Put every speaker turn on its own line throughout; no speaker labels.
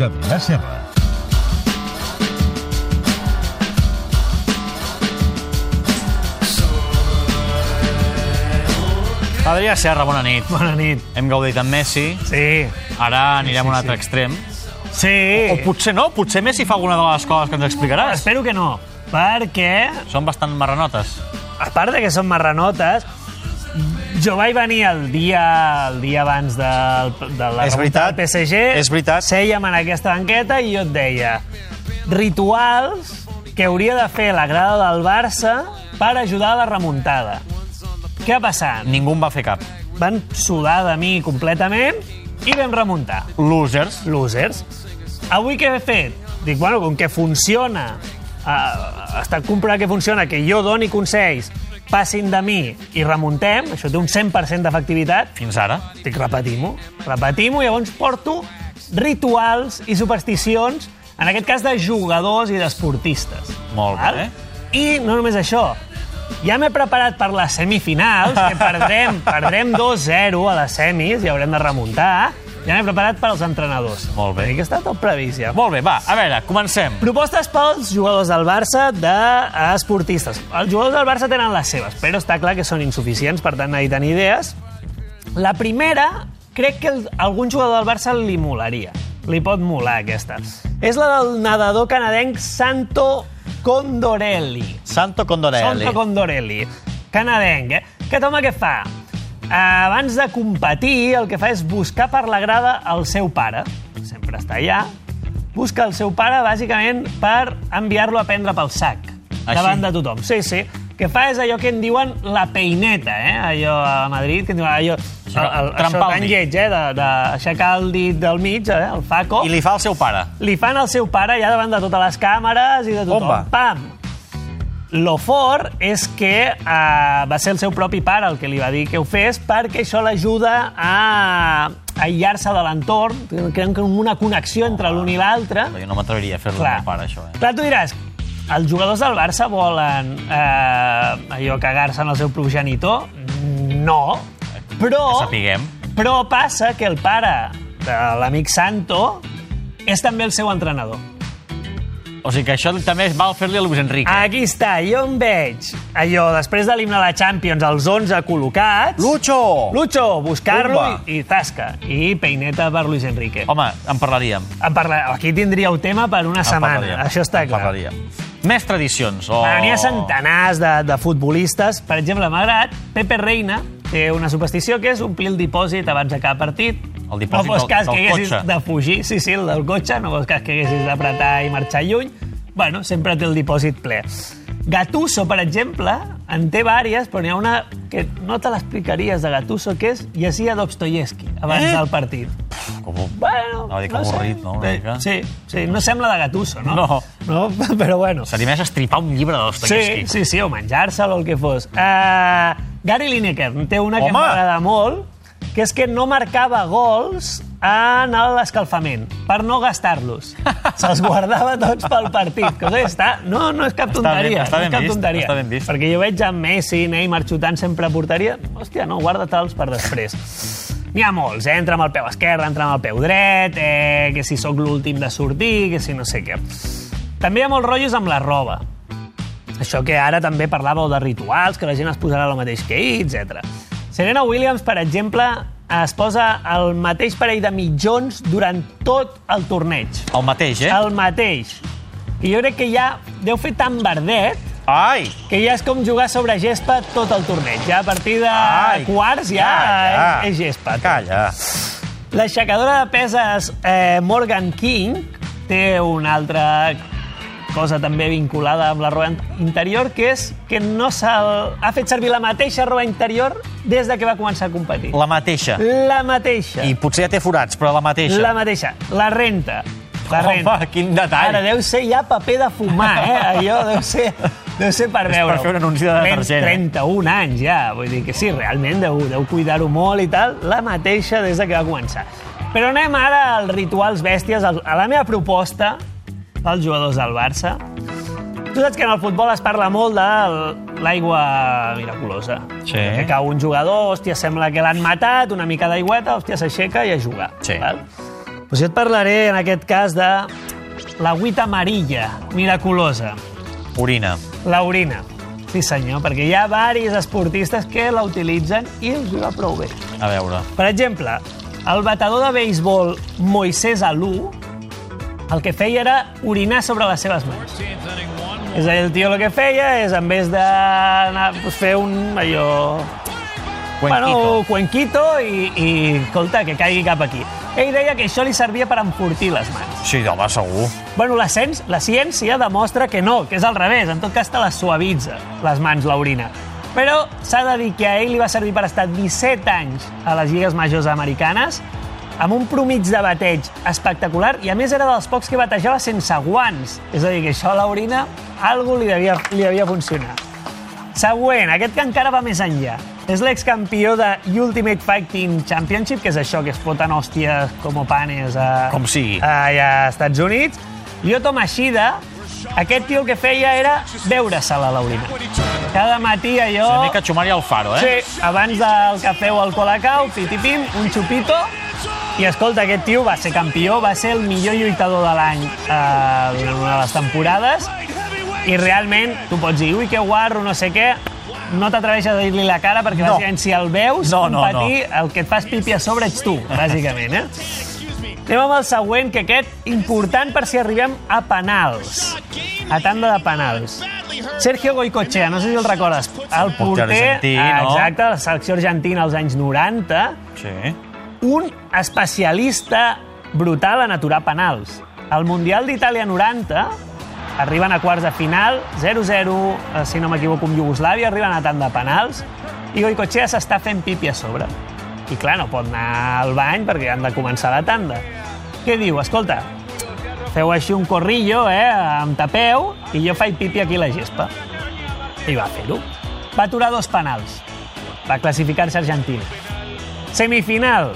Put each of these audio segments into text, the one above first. de Vila-serra.
Adrià Serra, bona nit.
Bona nit.
Hem gaudit amb Messi.
Sí.
Ara anirem
Sí, sí,
a un altre
sí.
extrem.
Sí.
O potser no, potser Messi fa alguna de les coses que ens explicaràs.
Espero que no, perquè,
Són bastant marranotes.
a part de que són marranotes, jo vaig venir el dia, el dia abans de, de la
És
remuntada
veritat,
del PSG.
és veritat.
Sèiem en aquesta banqueta i jo et deia rituals que hauria de fer la grada del Barça per ajudar a la remuntada. Què ha passat?
Ningú en va fer cap.
Van sudar de mi completament i vam remuntar.
Losers.
losers. Avui què he fet? Dic, bueno, com que funciona, uh, està comprovat que funciona, que jo doni consells, passin de mi i remuntem, això té un 100% d'efectivitat,
Fins ara.
dic, repetim-ho, repetim-ho, i llavors porto rituals i supersticions, en aquest cas de jugadors i d'esportistes.
Molt
Val?
bé.
I no només això, ja m'he preparat per les semifinals, que perdrem, perdrem 2-0 a les semis i haurem de remuntar. Ja m'he preparat per als entrenadors.
Molt bé.
Vull dir Que està tot previst, ja.
Molt bé, va, a veure, comencem.
Propostes pels jugadors del Barça d'esportistes. Els jugadors del Barça tenen les seves, però està clar que són insuficients, per tant, necessiten idees. La primera, crec que el- algun jugador del Barça li molaria. Li pot molar, aquesta. És la del nedador canadenc Santo Condorelli.
Santo Condorelli.
Santo Condorelli. Canadenc, eh? Aquest home què fa? Abans de competir, el que fa és buscar per la grada el seu pare. Sempre està allà. Busca el seu pare, bàsicament, per enviar-lo a prendre pel sac.
Així?
Davant de tothom. Sí, sí. Que fa és allò que en diuen la peineta, eh? Allò a Madrid, que en diuen allò... El, el, això
Trampar el
tan
dit.
lleig, eh? D'aixecar el dit del mig, eh? El faco.
I li fa el seu pare.
Li fan al seu pare ja davant de totes les càmeres i de tothom.
On va?
Pam! Lo fort és que eh, va ser el seu propi pare el que li va dir que ho fes perquè això l'ajuda a aïllar-se de l'entorn, creen com una connexió entre l'un i l'altre.
Jo no m'atreviria a fer-lo
Clar.
al meu pare, això, eh?
Clar, tu diràs, els jugadors del Barça volen eh, allò cagar-se en el seu progenitor? No, però...
Que sapiguem.
Però passa que el pare de l'amic Santo és també el seu entrenador.
O sigui que això també val fer-li a Luis Enrique.
Aquí està, jo em veig allò, després de l'himne de la Champions, els 11 col·locats...
Lucho!
Lucho, buscar-lo
Urba.
i, i tasca. I peineta per Luis Enrique.
Home, en parlaríem.
En parla... Aquí tindríeu tema per una
En
setmana,
parlaríem.
això està
en
clar.
Parlaríem. Més tradicions. O...
Però N'hi ha centenars de, de futbolistes. Per exemple, m'ha agradat Pepe Reina, té una superstició que és omplir el dipòsit abans de cada partit.
El dipòsit
no fos
del-
cas
del
que haguessis
cotxe.
de fugir, sí, sí, el del cotxe, no fos cas que haguessis d'apretar i marxar lluny. Bueno, sempre té el dipòsit ple. Gattuso, per exemple, en té vàries, però n'hi ha una que no te l'explicaries de Gattuso, que és Yesia Dostoyevsky, abans
Eh?
del partit.
Com...
Bueno,
Anava a dir que
no sé. Eh,
avorrit, no? Una mica.
Sí, sí, no sembla de Gattuso, no?
No.
No, però bueno.
Seria més estripar un llibre de Dostoyevsky.
Sí, sí, sí, o menjar-se'l o el que fos. Uh, Gary Lineker en té una que
Home!
m'agrada molt, que és que no marcava gols en l'escalfament, per no gastar-los. Se'ls guardava tots pel partit. Cosa que està... No, no és cap
Està ben-
tonteria.
està
no
ben
és cap
vist,
tonteria.
està ben vist.
Perquè jo veig a Messi, Neymar xutant sempre a porteria. Hòstia, no, guarda-te'ls per després. N'hi ha molts, eh? Entra amb el peu esquerre, entra amb el peu dret, eh? que si sóc l'últim de sortir, que si no sé què. També hi ha molts rotllos amb la roba. Això que ara també parlàveu de rituals, que la gent es posarà el mateix que ahir, etc. Serena Williams, per exemple, es posa el mateix parell de mitjons durant tot el torneig.
El mateix, eh?
El mateix. I jo crec que ja deu fer tan verdet
Ai!
que ja és com jugar sobre gespa tot el torneig. Ja a partir de
Ai,
quarts ja
calla.
és, és gespa. tot.
Calla.
L'aixecadora de peses eh, Morgan King té una altra cosa també vinculada amb la roba interior, que és que no se ha fet servir la mateixa roba interior des de que va començar a competir.
La mateixa.
La mateixa.
I potser ja té forats, però la mateixa.
La mateixa. La renta. La
Home,
renta.
quin detall.
Ara deu ser ja paper de fumar, eh? Allò deu ser, deu ser per
És
veure-ho.
per fer un anunci de detergent, eh?
31 anys ja, vull dir que sí, realment deu, deu cuidar-ho molt i tal, la mateixa des de que va començar. Però anem ara als rituals bèsties, al- a la meva proposta pels jugadors del Barça. Tu saps que en el futbol es parla molt de l'aigua miraculosa.
Sí.
Que cau un jugador, hòstia, sembla que l'han matat, una mica d'aigüeta, hòstia, s'aixeca i a jugar.
Sí.
Val? Doncs jo et parlaré, en aquest cas, de l'agüita amarilla, miraculosa,
Orina.
la orina. Sí, senyor, perquè hi ha varis esportistes que la utilitzen i els hi va prou bé.
A veure.
Per exemple, el batedor de béisbol Moisés Alú el que feia era orinar sobre les seves mans. És a dir, el tio el que feia és, en vez d'anar pues, fer un allò... Bueno,
Cuenquito.
un cuenquito i, i, escolta, que caigui cap aquí. Ell deia que això li servia per enfortir les mans.
Sí, home, segur.
Bueno, la, cens, la ciència demostra que no, que és al revés. En tot cas, te les suavitza, les mans, l'orina. Però s'ha de dir que a ell li va servir per estar 17 anys a les lligues majors americanes, amb un promig de bateig espectacular, i a més era dels pocs que batejava sense guants. És a dir, que això a l'orina, algo li devia, li devia funcionar. Següent, aquest que encara va més enllà. És l'excampió de Ultimate Fighting Championship, que és això, que es foten hòsties com panes a,
Com sigui.
Eh, allà als Estats Units. Lyoto Mashida, aquest tio el que feia era veure-se-la, l'orina. Cada matí allò...
Una mica xumar-hi al faro, eh?
Sí, abans del cafè o el colacau, pitipim, un xupito, i escolta, aquest tio va ser campió, va ser el millor lluitador de l'any eh, durant una de les temporades, i realment tu pots dir, ui, que guarro, no sé què, no t'atreveixes a dir-li la cara perquè,
No.
bàsicament, si el veus
No, no,
competir, el que et fas pipi a sobre ets tu, bàsicament, eh? Anem amb el següent, que aquest important per si arribem a penals. A tanda de penals. Sergio Goicochea, no sé si el recordes. El porter,
argentí,
ah,
no?
exacte, de la selecció argentina als anys 90,
Sí.
un especialista brutal en aturar penals. Al Mundial d'Itàlia 90 arriben a quarts de final, 0-0, eh, si no m'equivoco, amb Iugoslàvia, arriben a tant de penals, i Goicochea s'està fent pipi a sobre. I clar, no pot anar al bany perquè han de començar la tanda. Què diu? Escolta, feu així un corrillo, eh, em tapeu, i jo faig pipi aquí a la gespa. I va fer-ho. Va aturar dos penals. Va classificar-se Argentina. Semifinal.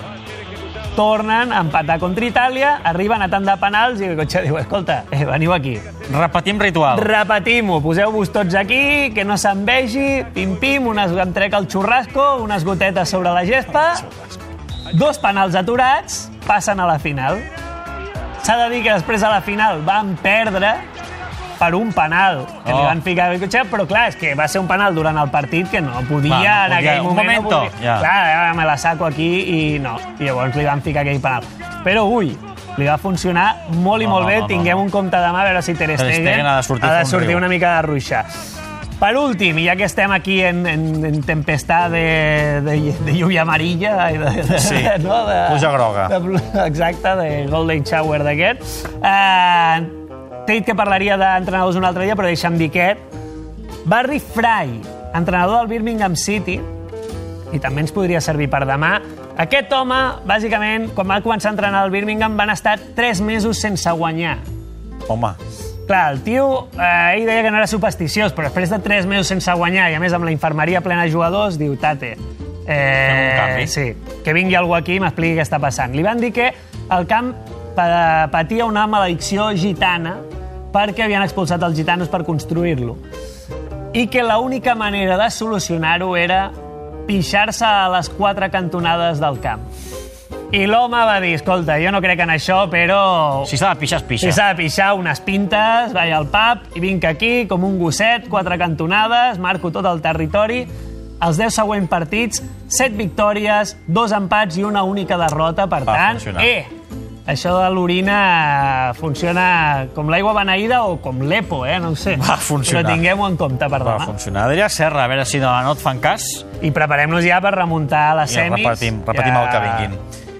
Tornen a empatar contra Itàlia, arriben a tant de penals i el cotxe diu, escolta, eh, veniu aquí.
Repetim ritual.
Repetim-ho, poseu-vos tots aquí, que no se'n vegi, pim-pim, unes, em trec el xurrasco, unes gotetes sobre la gespa, dos penals aturats, passen a la final. S'ha de dir que després a la final van perdre per un penal que li
Oh.
van ficar a Bencochea, però clar, és que va ser un penal durant el partit que no podia
Va, no podia,
en aquell
un
moment.
momento,
no podia.
ja.
Clar, ara me la saco aquí i no. I llavors li van ficar aquell penal. Però, ui, li va funcionar molt i
No,
molt
no,
bé.
no, no,
Tinguem
no.
un compte de mà a veure si Ter
Ter
Stegen,
Stegen ha de sortir
ha de
com
sortir
riu.
una mica de ruixa. Per últim, i ja que estem aquí en, en, en tempestà de, de, de lluvia amarilla, i de, de,
Sí,
no? de,
pluja groga.
De, plu- exacte, de Golden Shower d'aquest. Uh, T'he dit que parlaria d'entrenadors un altre dia, però deixa'm dir aquest. Barry Fry, entrenador del Birmingham City, i també ens podria servir per demà. Aquest home, bàsicament, quan va començar a entrenar al Birmingham, van estar 3 mesos sense guanyar.
Home,
Clar, el tio, eh, ell deia que no era supersticiós, però després de 3 mesos sense guanyar, i a més amb la infermeria plena de jugadors, diu, tate,
un
eh,
canvi.
sí, que vingui algú aquí i m'expliqui què està passant. Li van dir que el camp pa- patia una maledicció gitana perquè havien expulsat els gitanos per construir-lo i que l'única manera de solucionar-ho era pixar-se a les quatre cantonades del camp. I l'home va dir, escolta, jo no crec en això, però
si s'ha de pixar, es pixa.
si s'ha de pixar unes pintes, vaig al pub i vinc aquí com un gosset, quatre cantonades, marco tot el territori. Els 10 següents partits, 7 victòries, 2 empats i una única derrota, per
Va
tant...
funcionar.
Eh, això de l'orina eh, funciona com l'aigua beneïda o com l'EPO, eh? No ho sé.
Va funcionar.
Però tinguem-ho en compte per
Va
demà.
funcionar. Adrià Serra, a veure si demà no et fan cas
I preparem-nos ja per remuntar a les
i
semis.
repetim, repetim el que vinguin.